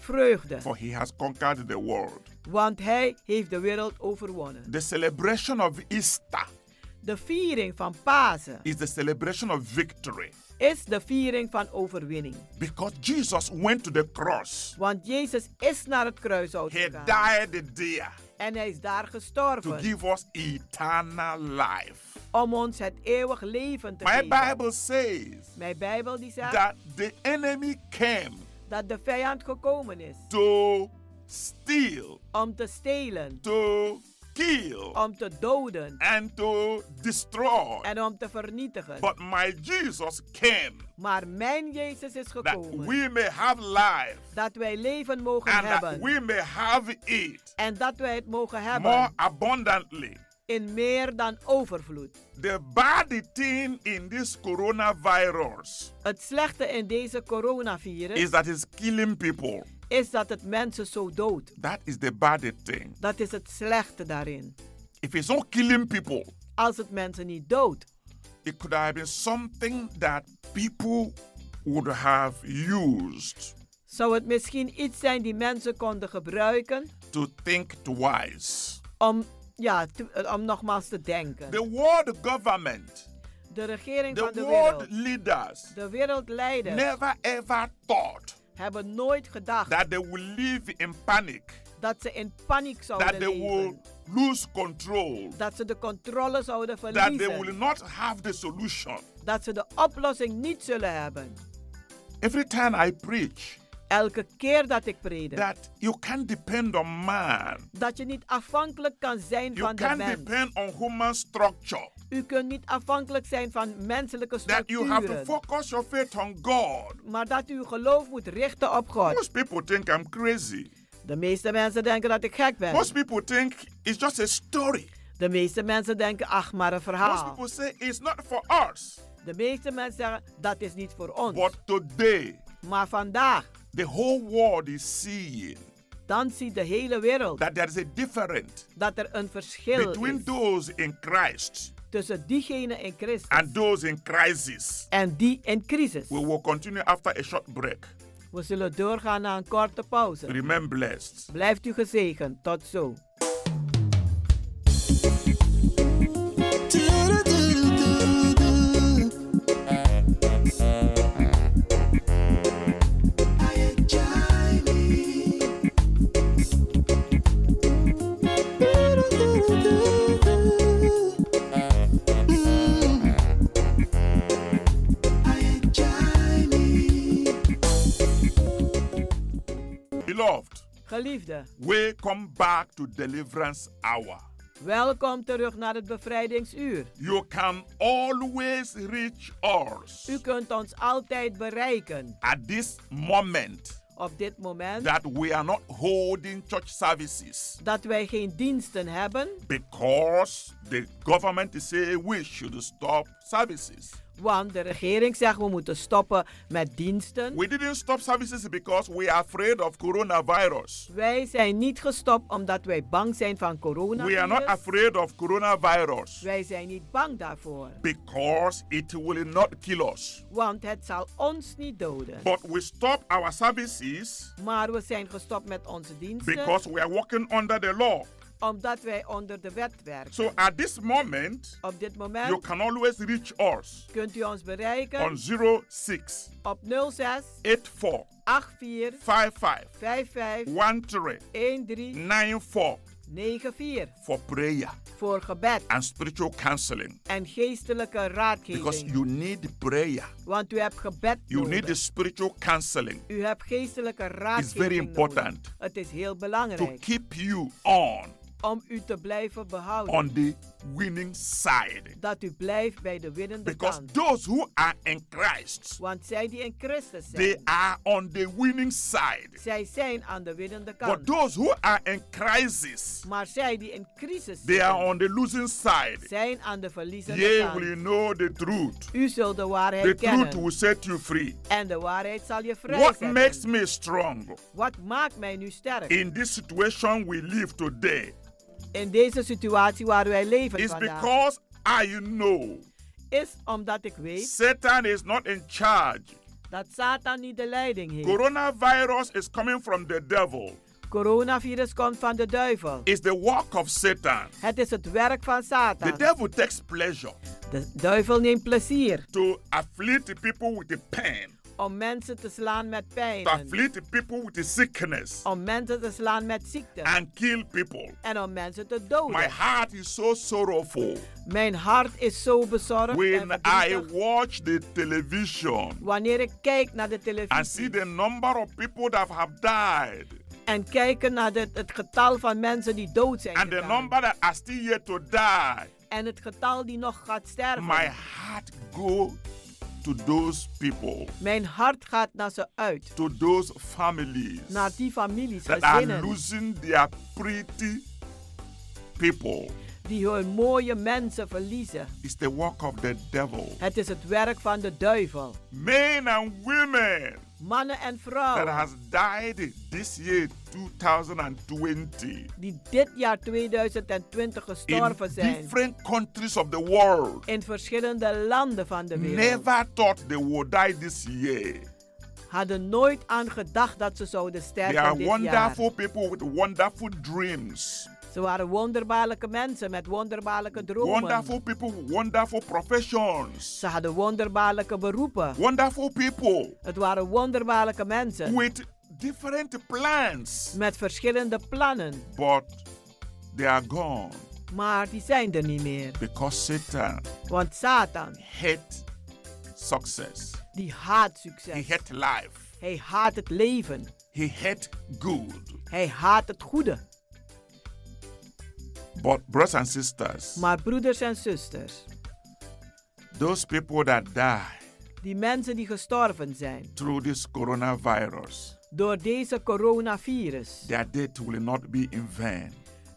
vreugde,
for he has conquered the world.
want hij heeft de wereld overwonnen.
The celebration of Easter
De viering van Pasen
is the celebration of victory
is de viering van overwinning.
because Jesus went to the cross.
Want Jezus is naar het kruishout
He
gegaan.
died there
En hij is daar
to
gestorven
give us eternal life.
om ons het eeuwig leven te
My
geven.
Bible says
Mijn Bijbel die zegt
that the enemy came
dat de vijand gekomen is
to steal,
om te stelen,
to kill,
om te doden
and to destroy.
en om te vernietigen.
But my Jesus came
Maar mijn Jezus is
that
gekomen
we may have life
dat wij leven mogen
and that
hebben.
we may have it
En dat wij het mogen hebben
more abundantly.
in meer dan overvloed.
The bad thing in this coronavirus
Het slechte in deze coronavirus
is that it's killing people.
is dat het mensen zo doodt.
That is the bad thing.
Dat is het slechte daarin.
If it's not killing people,
Als het mensen niet doodt,
it could have been something that people would have used
zou het misschien iets zijn die mensen konden gebruiken
to think twice.
om, ja, te- eh, om nogmaals te denken.
The world government,
De regering
the
van de
world
wereld,
leaders
de wereldleiders,
never ever thought
hebben nooit gedacht
that they will live in panic,
dat ze in paniek
that
zouden
they will
leven.
lose control,
Dat ze de controle zouden
that they will
verliezen.
not have the solution.
Dat ze de oplossing niet zullen hebben.
Every time I preach,
Elke keer dat ik predik.
that you can't depend on man.
dat je niet afhankelijk kan zijn
You
van de
can't
mens.
depend on human structure.
U kunt niet afhankelijk zijn van menselijke
That you have to
structuren.
focus your faith on God.
Maar dat u uw geloof moet richten op God.
Most people think I'm crazy.
De meeste mensen denken dat ik gek ben.
Most people think it's just a story.
De meeste mensen denken, ach, maar een
Most
verhaal.
people say it's not for us.
De meeste mensen zeggen, dat is niet voor ons.
But today,
Maar vandaag,
the whole world is seeing
dan ziet de hele wereld
that there is a difference
dat er een verschil
between
is
those in Christ
tussen diegenen in Christus
and those in crisis.
en die in crisis.
We will continue after a short break.
We zullen doorgaan na een korte pauze.
Remain blessed.
Blijft u gezegend. Tot zo.
Beloved,
Geliefde,
welcome back to Deliverance Hour.
welkom terug naar het bevrijdingsuur.
You can always reach us
U kunt ons altijd bereiken
at this moment
op dit moment
that we are not holding church services
dat wij geen diensten hebben,
because the government is saying we should stop services.
Want de regering zegt we moeten stoppen met diensten.
We didn't stop services because we are afraid of coronavirus.
Wij zijn niet gestopt omdat wij bang zijn van corona.
We are not afraid of coronavirus
Wij zijn niet bang daarvoor,
because it will not kill us.
want het zal ons niet doden.
But we stop our services
Maar we zijn gestopt met onze diensten
because we are working under the law.
omdat wij onder de wet werken.
So at this moment,
Op dit
you
moment
can always reach us
kunt u ons bereiken
on 06
op 06
84
84
55
55
13
13
94
94
for prayer
voor gebed
and spiritual counseling
en geestelijke
because
raadgeving.
you need prayer.
Want u hebt gebed
You
nodig.
need the spiritual counseling
U hebt geestelijke
It's very
raadgeving
important
nodig. Het is heel
to
belangrijk
keep you on
om u te blijven behouden.
on the winning side
dat u blijft bij de winnende
because
kant.
those who are in Christ
Want zij die in Christus
they
zijn,
are on the winning side
zij zijn aan de winnende
but
kant.
those who are in crisis
Maar zij die in crisis
they are
zijn,
on the losing side
zijn aan de verliezende
Ye will
kant.
know the truth
U zult de
the
waarheid
truth
kennen
will set you free
en de waarheid zal je
what
vrijzetten.
makes me strong
Wat maakt mij nu sterk?
in this situation we live today
In deze situatie waar wij leven
is
vandaag,
because I know
is omdat ik weet
Satan is not in charge
dat Satan niet de leiding heeft.
Coronavirus is coming from the devil.
Coronavirus komt van de duivel.
It's the work of Satan.
Het is het werk van
The
Satan.
devil takes pleasure
De duivel neemt plezier
to afflict the people with the pain,
om mensen te slaan met
to
pijn,
afflict the people with the sickness,
om mensen te slaan met ziekte
and kill people.
en om mensen te
My
doden.
heart is so sorrowful
Mijn hart is zo bezorgd en
when I
verdrietig.
watch the television
wanneer ik kijk naar de
and
televisie
see the number of people that have died
en kijk naar de- het getal van mensen die dood zijn
and the
gegaan.
number that are still yet to die.
en het getal die nog gaat sterven.
My heart go to those people,
Mijn hart gaat naar ze uit,
to those families.
naar die families,
that are
gezinnen,
losing their pretty people.
die hun mooie mensen verliezen.
It's the work of the devil.
Het is het werk van de duivel.
Men and women
Mannen en
that
vrouwen
has died this year 2020
die dit jaar 2020
in
gestorven zijn
different countries of the world
in verschillende landen van de wereld
never thought they would die this year.
hadden nooit aan gedacht dat ze zouden
They are
sterven dit jaar.
wonderful people with wonderful dreams,
Ze waren wonderbaarlijke mensen met wonderbaarlijke dromen.
wonderful people with wonderful professions,
Ze hadden wonderbaarlijke beroepen.
wonderful people
Het waren wonderbaarlijke mensen
with different plans.
met verschillende plannen,
but they are gone
maar die zijn er niet meer.
because Satan
Want Satan,
hates success.
die haat
He
succes.
hates life.
Hij haat het leven.
He hates good.
Hij haat het goede.
But brothers and sisters,
Maar broeders en zusters,
those people that die
die mensen die gestorven zijn
through this coronavirus,
door deze coronavirus,
their death will not be in vain.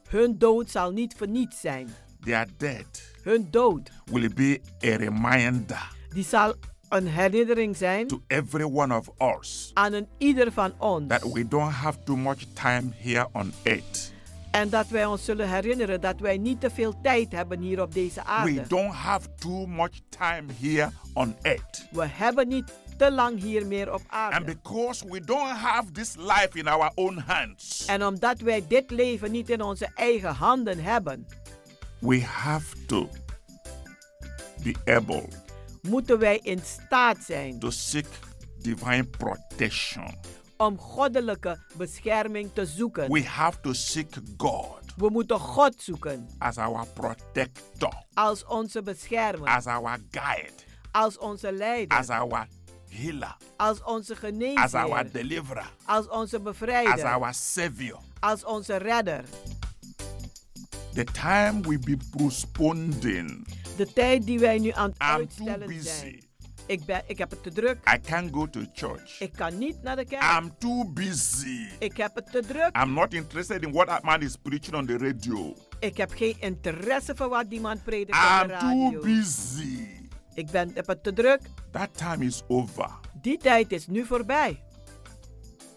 hun dood zal niet verniet zijn.
Their death
Hun dood,
will be a reminder
die zal een herinnering zijn
to every one of us
aan een ieder van ons.
that we don't have too much time here on earth.
En dat wij ons zullen herinneren dat wij niet te veel tijd hebben hier op deze
We
aarde.
don't have too much time here on earth.
We hebben niet te lang hier meer op
And
aarde.
because we don't have this life in our own hands,
En omdat wij dit leven niet in onze eigen handen hebben,
we have to be able
moeten wij in staat zijn
to seek divine protection.
om goddelijke bescherming te zoeken.
We have to seek God
We moeten God zoeken
as our protector,
als onze beschermer,
as our guide,
als onze leider,
as our healer,
als onze
as our
geneesheer,
deliverer,
als onze
as
bevrijder,
our savior.
als onze redder.
The time we be postponing,
De tijd die wij nu aan het
I'm too
uitstellen zijn.
busy.
Ik, ben, ik heb het te druk.
I can't go to church.
Ik kan niet naar de kerk.
I'm too busy.
Ik heb het te druk.
I'm not interested in what that man is preaching on the radio.
Ik heb geen interesse voor wat die man predikt op de
I'm too
radio.
busy.
Ik ben, heb het te druk.
That time is over.
Die tijd is nu voorbij.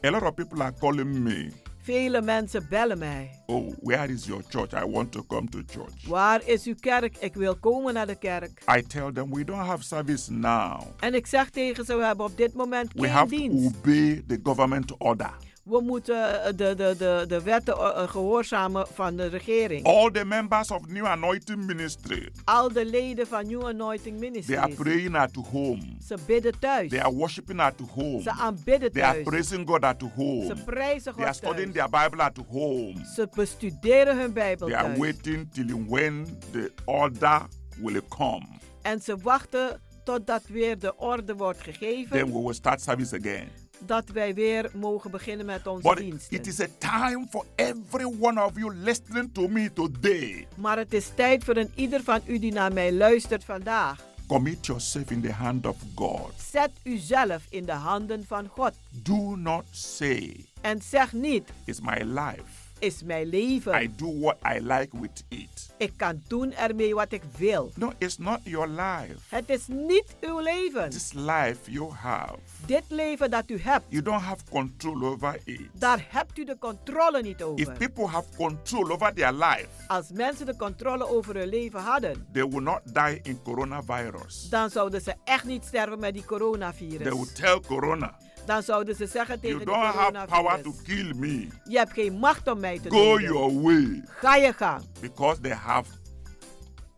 A lot of people are calling me.
Vele mensen bellen mij.
Oh, where is your church? I want to come to church.
Waar is uw kerk? Ik wil komen naar de kerk.
I tell them we don't have service now.
En ik zeg tegen ze, we hebben op dit moment
We
geen
have to
dienst.
obey the government order.
We moeten eh, de, de, de, de wetten eh, eh, gehoorzamen van de regering.
All the members of New Anointing Ministry,
Al de leden van New Anointing
they are
Ministries.
praying at home.
Ze bidden thuis.
They are worshiping at home.
Ze aanbidden
They are
thuis.
praising God at
Ze
home.
prijzen
They are
God thuis.
studying their Bible at home.
Ze bestuderen hun Bijbel
They are
thuis.
waiting till when the order will come.
En ze wachten totdat weer de orde wordt
Then
gegeven.
we will start service again.
Dat wij weer mogen beginnen met onze
But
diensten.
it is a time for every one of you listening to me today.
Maar het is tijd voor een ieder van u die naar mij luistert vandaag.
Commit yourself in the hand of God.
Zet uzelf in de handen van God.
Do not say,
En zeg niet,
It's my life.
is mijn leven.
I do what I like with it.
Ik kan doen ermee wat ik wil.
No, it's not your life.
Het is niet uw leven.
This life you have,
Dit leven dat u hebt,
you don't have control over it.
daar hebt u de controle niet
If
over.
people have control over their life,
Als mensen de controle over hun leven hadden,
they will not die in coronavirus.
dan zouden ze echt niet sterven met die
They will
coronavirus.
tell corona,
Dan zouden ze zeggen tegen de
you don't have power to
coronavirus,
kill me.
je hebt geen macht om mij te
Go
doden.
your way.
Ga je gang,
Because they have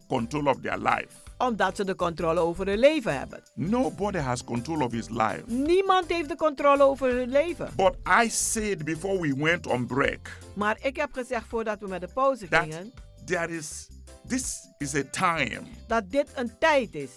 control of their life.
omdat ze de controle over hun leven hebben.
Nobody has control of his life.
Niemand heeft de controle over hun leven.
But I said before we went on break
Maar ik heb gezegd voordat we met de pauze
that
gingen,
there is this is a time
dat dit een tijd is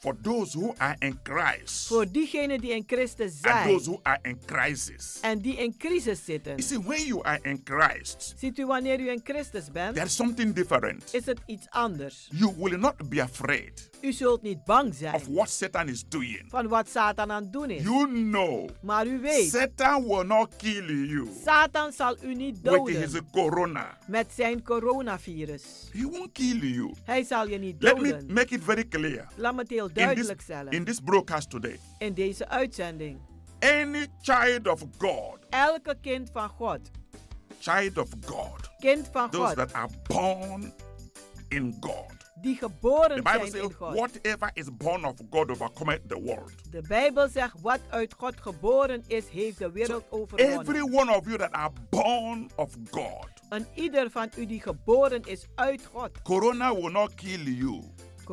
for those who are in Christ
voor diegenen die in Christus
and
zijn
those who are in crisis.
en die in crisis zitten.
You see, when you are in Christ,
Ziet u wanneer u in Christus bent,
there's something different.
is het iets anders.
You will not be afraid
U zult niet bang zijn
of what Satan is doing.
van wat Satan aan het doen is.
You know
Maar u weet,
Satan will not kill you
Satan zal u niet
with his
doden
corona.
met zijn coronavirus.
He won't kill you.
Hij zal je niet
Let me
doden.
make it very clear.
Laat me het heel
in this,
duidelijk
in
stellen
this broadcast today.
in deze uitzending.
Any child of God,
Elke kind van God,
child of God,
kind van
those
God,
that are born in God.
die
The
geboren
Bible
zijn
says,
in God.
whatever is born of God overcometh the world.
De Bijbel zegt, wat uit God geboren is, heeft de wereld
Every
overwonnen.
one of you that are born of God,
En ieder van u die geboren is uit God.
Corona will not kill you,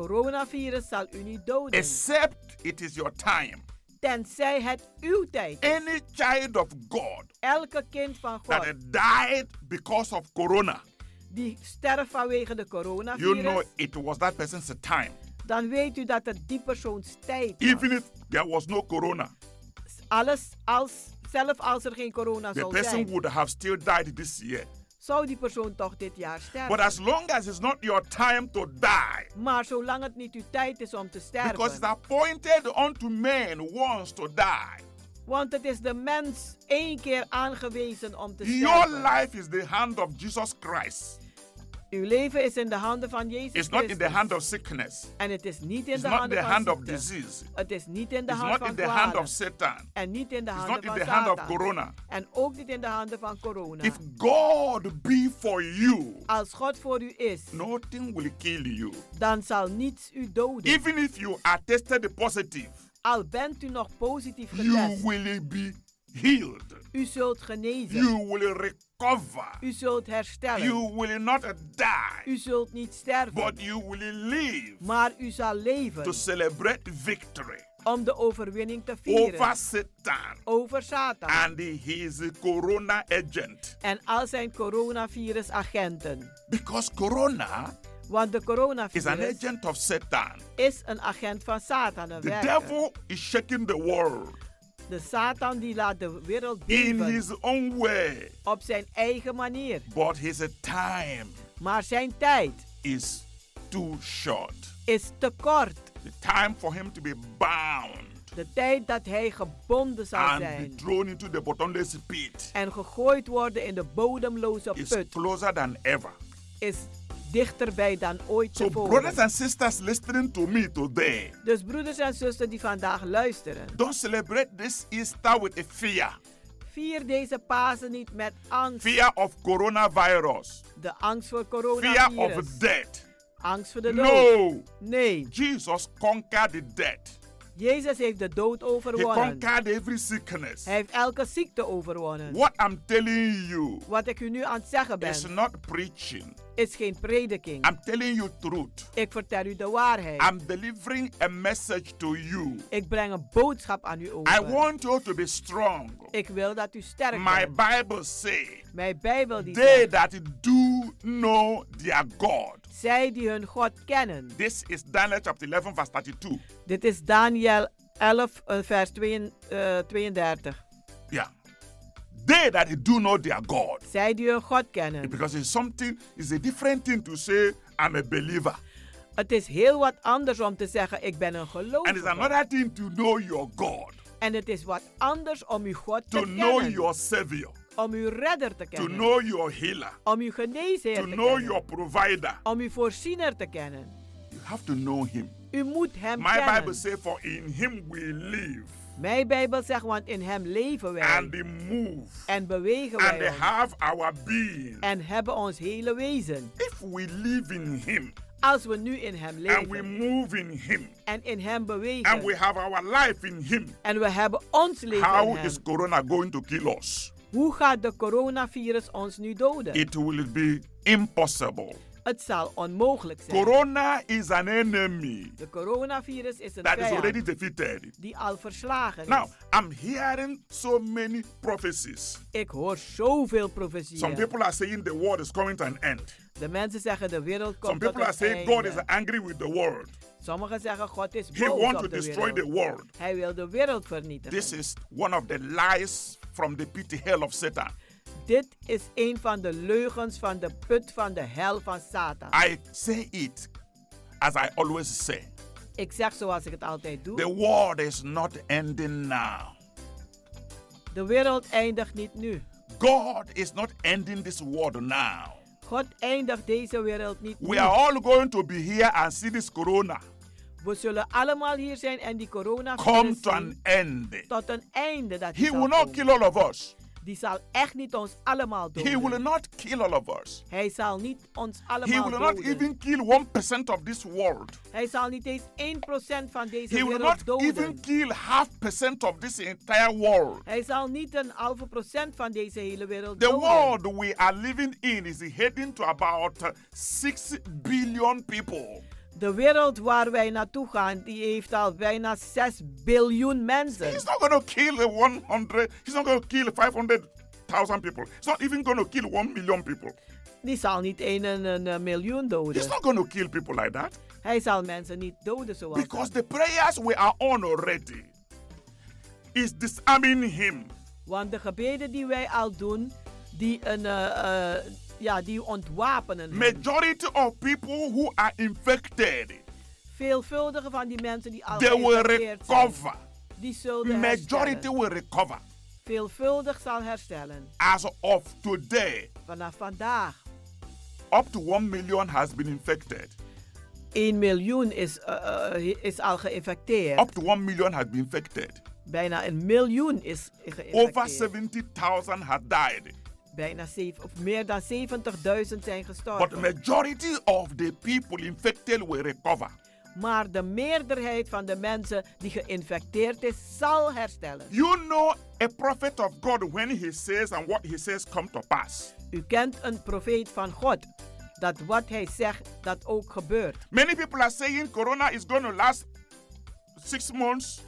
Coronavirus zal u niet doden,
except it is your time.
tenzij het uw tijd is.
Any child of God
Elke kind van
that
God
had died because of Corona,
die sterft vanwege de
you know
coronavirus,
it was that person's time.
dan weet u dat het die persoons tijd is.
Even if there was no Corona,
Dus Alles, als, zelf als er geen corona
the
zou
person
zijn,
would have still died this year.
zou die persoon toch dit jaar
But
sterven.
as long as it's not your time to die,
Maar zolang het niet uw tijd is om te
because it's
sterven,
appointed unto men once to die,
want het is de mens één keer aangewezen om te
your
sterven.
life is the hand of Jesus Christ.
Uw leven is in de handen van Jezus
It's not in the
Christus.
hand of sickness.
En het is niet in
It's
de
not in
handen
the
van
hand of
ziekte.
disease.
Het is niet in de
It's
hand
not in
van
the hand
kwalen.
of Satan.
En niet in de
It's
handen
not in
van
the hand of
Satan.
Corona.
En ook niet in de handen van corona.
If God be for you,
Als God voor u is,
nothing will kill you.
dan zal niets u doden.
Even if you are tested positive,
Al bent u nog positief
you
getest,
will be healed.
u zult genezen.
You will recover.
U zult herstellen.
You will not die,
U zult niet sterven,
but you will live
maar u zal leven
to celebrate victory
om de overwinning te vieren
over Satan
over Satan
and his corona agent.
en al zijn coronavirus-agenten.
Because corona
Want de
is an
coronavirus
agent of Satan.
is een agent van Satan. Een
The
werker.
devil is shaking the world
De Satan die laat de wereld
in
beven
his own way,
op zijn eigen manier.
but his time
Maar zijn tijd
is too short.
is te kort.
The time for him to be bound
De tijd dat hij gebonden zal
and be
zijn
thrown into the bottomless pit
en gegooid worden in de bodemloze
is
put
closer than ever.
is dichterbij dan ooit
So,
tevoren.
brothers and sisters listening to me today,
Dus broeders en zusters die vandaag luisteren,
don't celebrate this Easter with a fear
vier deze Pasen niet met angst.
fear of coronavirus,
De angst voor
fear
coronavirus.
of death.
Angst voor de dood.
No.
Nee.
Jesus conquered the death.
Jezus heeft de dood
He
overwonnen.
conquered every sickness.
Hij heeft elke ziekte overwonnen.
What I'm telling you
Wat ik u nu aan het zeggen ben,
is not preaching.
is geen prediking.
I'm telling you truth.
Ik vertel u de waarheid.
I'm delivering a message to you.
ik breng een boodschap aan u over.
I want you to be strong.
ik wil dat u sterk
My
bent.
Bible say
Mijn Bijbel die
they
zegt,
that do know their God.
zij die hun God kennen.
This is Daniel chapter 11 verse 32.
Dit is Daniel 11, eh, vers 2, eh, 32.
Yeah. They that do know their God.
Zij die hun God kennen.
Because it's something, it's a different thing to say I'm a believer.
Oh, Het is heel wat anders om te zeggen, ik ben een
And it's
gelovige.
another thing to know your God,
En het is wat anders om uw God te
to know
kennen.
your Savior,
Om uw redder te
to
kennen.
know your healer,
om uw geneesheer
to
te
know
kennen.
your provider.
Om uw voorziener te kennen.
You have to know Him.
U moet hem
My
kennen.
Bible says, For in Him we live
Mijn Bijbel zegt, want in hem leven wij.
and we move
en bewegen
and
wij ons.
have our being.
En hebben ons hele wezen.
If we live in Him
Als we nu in hem
and we
leven.
move in Him
en in hem bewegen.
and we have our life in Him,
en we hebben ons leven
how
in hem.
is Corona going to kill us?
Hoe gaat de coronavirus ons nu doden?
It will be impossible.
Het zal onmogelijk zijn.
Corona is an enemy
de coronavirus is een
that is already
vijand
defeated.
die al verslagen
Now,
is.
I'm hearing so many prophecies.
Ik hoor zoveel profetieën.
Some people are saying the world is coming to an end.
de mensen zeggen de wereld
Some
komt tot
people are
een
saying
einde.
God is angry with the world.
Sommigen zeggen God is
He
boos
wants
op
to
de
destroy
wereld.
the world.
Hij wil de wereld vernietigen.
This is one of the lies from the pit hell of Satan.
Dit is een van de leugens van de put van de hel van Satan.
I say it as I always say.
ik zeg zoals ik het altijd doe.
The world is not ending now.
de wereld eindigt niet nu.
God is not ending this world now.
God eindigt deze wereld niet
We
nu.
are all going to be here and see this corona
We zullen allemaal hier zijn en die corona
come to an end.
tot een einde dat die
He
zal
will not
komen.
kill all of us.
Die zal echt niet ons allemaal doden.
He will not kill all of us.
Hij zal niet ons
He
allemaal
will not
doden.
even kill 1% of this world.
Hij zal niet eens 1% van deze
He will
wereld
not
doden.
even kill half percent of this entire world.
Hij zal niet een halve procent van deze hele wereld
The
doden.
world we are living in is heading to about uh, 6 billion people.
De wereld waar wij naartoe gaan, die heeft al bijna 6 biljoen mensen.
He's not going to kill 100, he's not going to kill 500,000 people. He's not even going to kill 1 million people.
Die zal niet één een, een, een miljoen
He's
doden.
not going to kill people like that
Hij zal mensen niet doden zoals
because
dat.
the prayers we are on already is disarming him.
Want de gebeden die wij al doen, die, een, eh, eh, ja, die ontwapenen. hem.
Majority of people who are infected,
Veelvuldige van die mensen die al
they will
geïnfecteerd zijn,
recover.
die zullen
Majority
herstellen.
will recover.
Veelvuldig zal herstellen.
As of today,
Vanaf vandaag.
up to 1 million has been infected.
1 miljoen is, eh, eh, is al geïnfecteerd.
Up to 1 million has been infected.
Bijna een miljoen is
Over
geïnfecteerd.
70,000 have died.
Bijna zeven, of meer dan 70.000 zijn
But
gestorven.
majority of the people infected will recover.
Maar de meerderheid van de mensen die geïnfecteerd is, zal herstellen.
You know a prophet of God when he says and what he says come to pass.
U kent een profeet van God, dat wat hij zegt, dat ook gebeurt.
Many people are saying corona is going to last 6 months.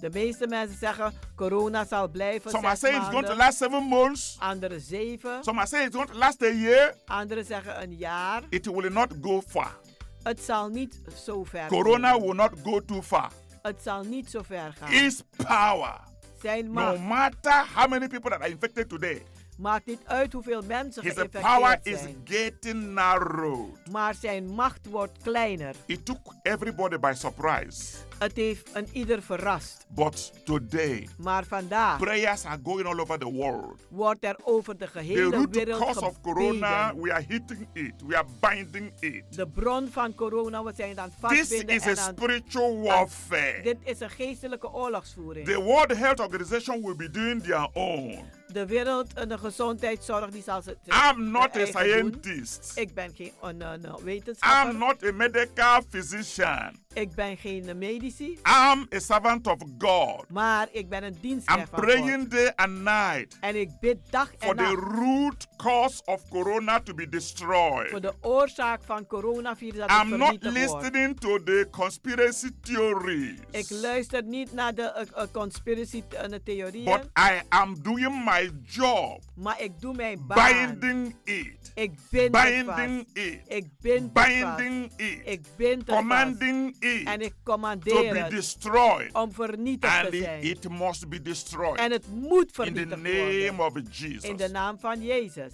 De meeste mensen zeggen, corona zal blijven
Some are
zes
saying it's going to
maanden.
last 7 months.
Anderen zeven.
Some are saying it's going to last a year.
Anderen zeggen een jaar.
It will not go far.
Het zal niet zo ver
Corona
gaan.
will not go too far.
Het zal niet
Ah.
zo ver gaan.
Its power,
Zijn
no
macht,
matter how many people that are infected today,
Maakt niet uit hoeveel mensen
His power
geïnfecteerd
is
zijn.
getting narrowed.
Maar zijn macht wordt kleiner.
It took everybody by surprise.
Het heeft een ieder verrast.
But today,
Maar
Ah.
vandaag
prayers are going all over the world.
wordt er over de
The
gehele
root
wereld
cause of corona,
gebeden.
we are hitting it. We are binding it.
De bron van corona, we zijn het aan het
This
vastbinden
is a
en aan-
spiritual warfare.
Dit is een geestelijke oorlogsvoering.
The World Health Organization will be doing their own.
De wereld en de gezondheidszorg die zal ze
I'm not
haar
a
eigen doen.
scientist.
Ik ben geen een, een, een wetenschapper.
I'm not a medical physician.
Ik ben geen medici.
I'm a servant of God.
Maar ik ben een
I'm
dienstknecht van God.
praying day and night
En ik bid dag en
for the
nacht
root cause of corona to be
voor
destroyed.
de oorzaak van coronavirus dat het
I'm not
vernietigd wordt.
listening to the conspiracy theory,
Ik luister niet naar de eh, eh, conspiracy eh, theorieën.
but I am doing my job,
maar ik doe mijn baan.
binding it,
Ik bind het
binding
vast.
it,
Ik bind het vast.
binding it
Ik bind het
Commanding
vast.
it
En ik
to
commandeer
be
het
destroyed.
om vernietigd
And
te
it,
zijn.
it must be destroyed
en het moet
in the
vernietigd worden.
name of Jesus.
In de naam van Jezus.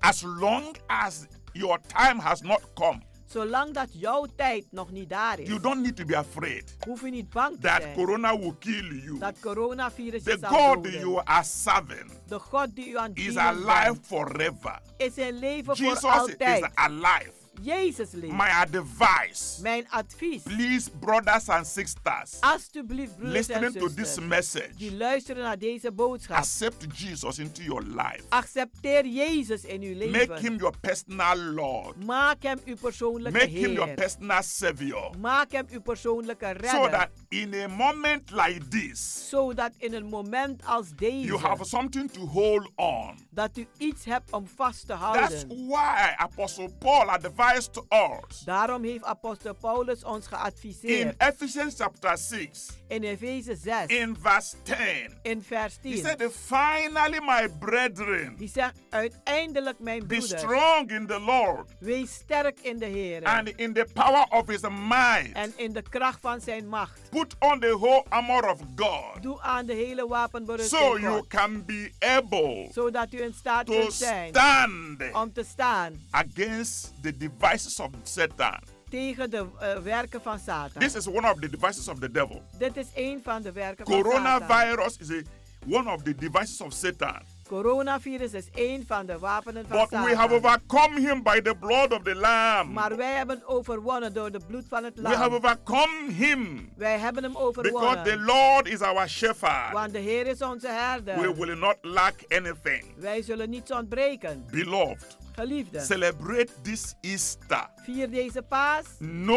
As long as your time has not come,
Zolang dat jouw tijd nog niet daar is,
you don't need to be afraid
hoef je niet bang te
that
zijn
corona will kill you.
dat coronavirus
The
je zal
God
doden.
you are serving
de God die u aan het
is
dienen
alive
bent,
forever.
is zijn leven
Jesus
voor
is
altijd.
alive.
Jezus leeft.
My advice,
Mijn advies,
please, brothers and sisters,
alsjeblieft broeders en
listening to this
zusters,
message,
die luisteren naar deze boodschap,
accept Jesus into your life.
accepteer Jezus in uw
Make
leven.
him your personal Lord.
Maak hem uw persoonlijke
Make him your
Heer.
personal Savior.
Maak hem uw persoonlijke
So
redder.
that in a moment like this,
Zodat in een moment als deze
you have something to hold on.
dat u iets hebt om vast te
That's
houden.
why Apostle Paul advised us
Daarom heeft apostel Paulus ons
in
geadviseerd
Ephesians chapter 6,
in Efeze 6
in verse 10.
in vers
He
10.
said, Finally, my brethren,
Die zegt uiteindelijk mijn
be
broeder,
strong in the Lord
wees sterk in de Heer
and in the power of his might.
en eh? in de kracht van zijn macht.
Put on the whole armor of God
Doe aan de hele wapenberusting
so you
God,
can be able
zodat u in staat
to
kunt zijn
stand
om te staan
against the devices of Satan.
tegen de eh, werken van Satan.
This is one of the devices of the devil.
Dit is een van de werken van Satan.
Coronavirus is a, one of the devices of Satan.
Coronavirus is een van de wapenen van
But
Satan.
we have overcome him by the blood of the Lamb.
Maar wij hebben het overwonnen door de bloed van het
We have
lam.
overcome him
Wij hebben hem
because the
overwonnen.
Lord is our shepherd.
Want de Heer is onze
We
herder.
will not lack anything.
Wij zullen niets ontbreken.
Beloved,
Geliefden,
celebrate this Easter
vier deze paas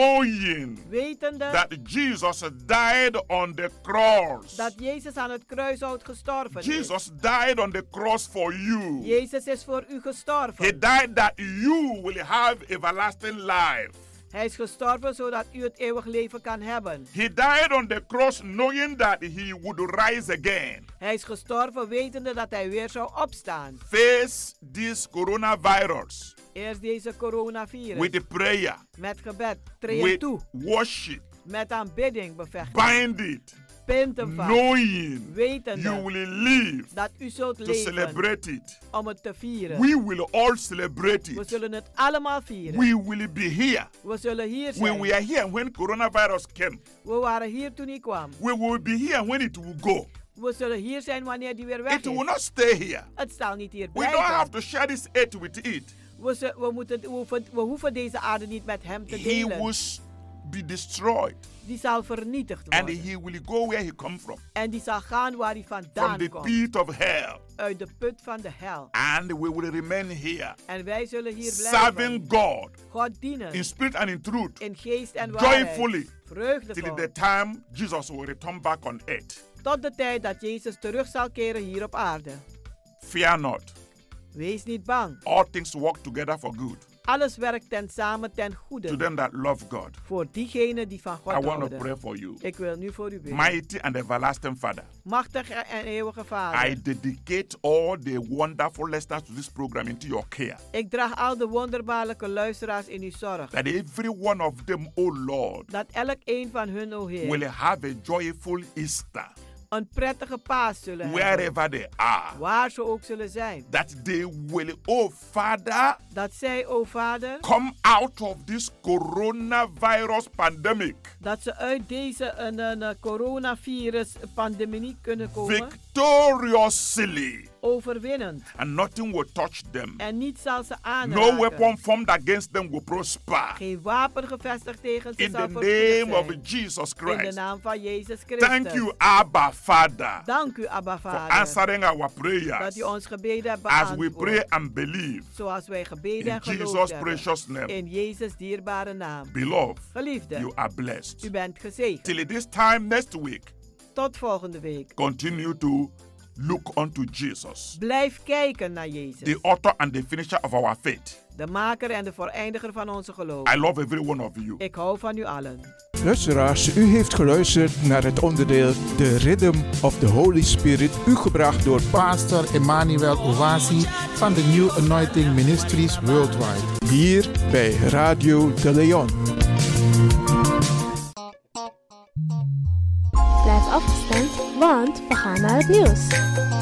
knowing
wetende
that Jesus died on the cross.
dat Jezus aan het kruishout gestorven is.
Jesus died on the cross for you.
Jezus is voor u
He
gestorven.
died that you will have everlasting life.
Hij is gestorven zodat u het eeuwig leven kan hebben.
He died on the cross knowing that he would rise again.
Hij is gestorven wetende dat hij weer zou opstaan.
Face this coronavirus
Eerst deze coronavirus.
with prayer,
Met gebed. Treed
with
toe.
worship.
Met aanbidding bevechten.
Bind it,
Pinten vast.
knowing you
Wetende
will live
dat u zult
to
leven
celebrate it.
om het te vieren.
We will all celebrate
We
it.
zullen het allemaal vieren.
We will be here.
We zullen hier
We
zijn.
were here when coronavirus came.
We waren hier toen hij kwam.
We will be here when it will go.
We zullen hier zijn wanneer die weer weg
It will
is.
not stay here.
Het zal niet hier
We don't have
blijven.
to share this earth with it.
We, zu- we, moeten, we, hoeven, we hoeven deze aarde niet met hem te
He will
delen.
s- be destroyed
Die zal vernietigd
and
worden.
he will go where he come from,
En die zal gaan waar hij
from
vandaan
the
komt.
pit of hell.
Uit de put van de hel.
And we will remain here,
En wij zullen hier
serving
blijven.
God
God dienen.
in spirit and in truth
In geest en waarheid.
joyfully till
Vreugdevol.
the time Jesus will return back on earth.
Tot de tijd dat Jezus terug zal keren hier op aarde.
Fear not.
Wees niet bang.
All things work together for good
Alles werkt ten samen ten
to
goede.
them that love God.
Voor diegenen die van
I
God
want to pray
houden.
for you.
Ik wil nu voor u bidden.
Mighty and everlasting Father,
Machtige en eeuwige
I
Vader.
dedicate all the wonderful listeners to this program into your care.
Ik draag al de wonderbaarlijke luisteraars in uw zorg.
That every one of them, O Lord,
Dat elk een van hun, o Heer,
will have a joyful Easter
een prettige paas zullen hebben.
wherever they are,
Waar ze ook zullen zijn.
that they will, oh Father,
Dat zij, o Vader,
come out of this coronavirus pandemic
dat ze uit deze eh, eh, eh, coronavirus-pandemie kunnen komen.
victoriously,
Overwinnend.
and nothing will touch them.
En niet zal ze aanraken.
No weapon formed against them will prosper.
Geen wapen gevestigd tegen ze
In the
zal voorspoedig
name of
zijn.
Jesus
In de
Christ.
naam van Jezus Christus.
Thank you, Abba Father,
Dank u, Abba
for
Vader.
answering our
Dat
prayers
u ons gebeden hebt
as we pray
beantwoord.
and believe.
Zoals wij gebeden
In
en geloofd
Jesus'
hebben.
precious name.
In Jezus' dierbare naam.
Beloved,
Geliefde,
you are blessed.
u bent gezegend.
Till this time next week,
Tot volgende week.
continue to look unto Jesus,
Blijf kijken naar Jezus.
the author and the finisher of our faith.
De maker en de vooreindiger van onze geloof.
I love every one of you.
Ik hou van u allen.
Luisteraars, u heeft geluisterd naar het onderdeel The Rhythm of the Holy Spirit, u gebracht door
Pastor Emmanuel Owasi van de New Anointing Ministries Worldwide.
hier bij Radio de Leon.
Blijf afgestemd, want we gaan naar het nieuws.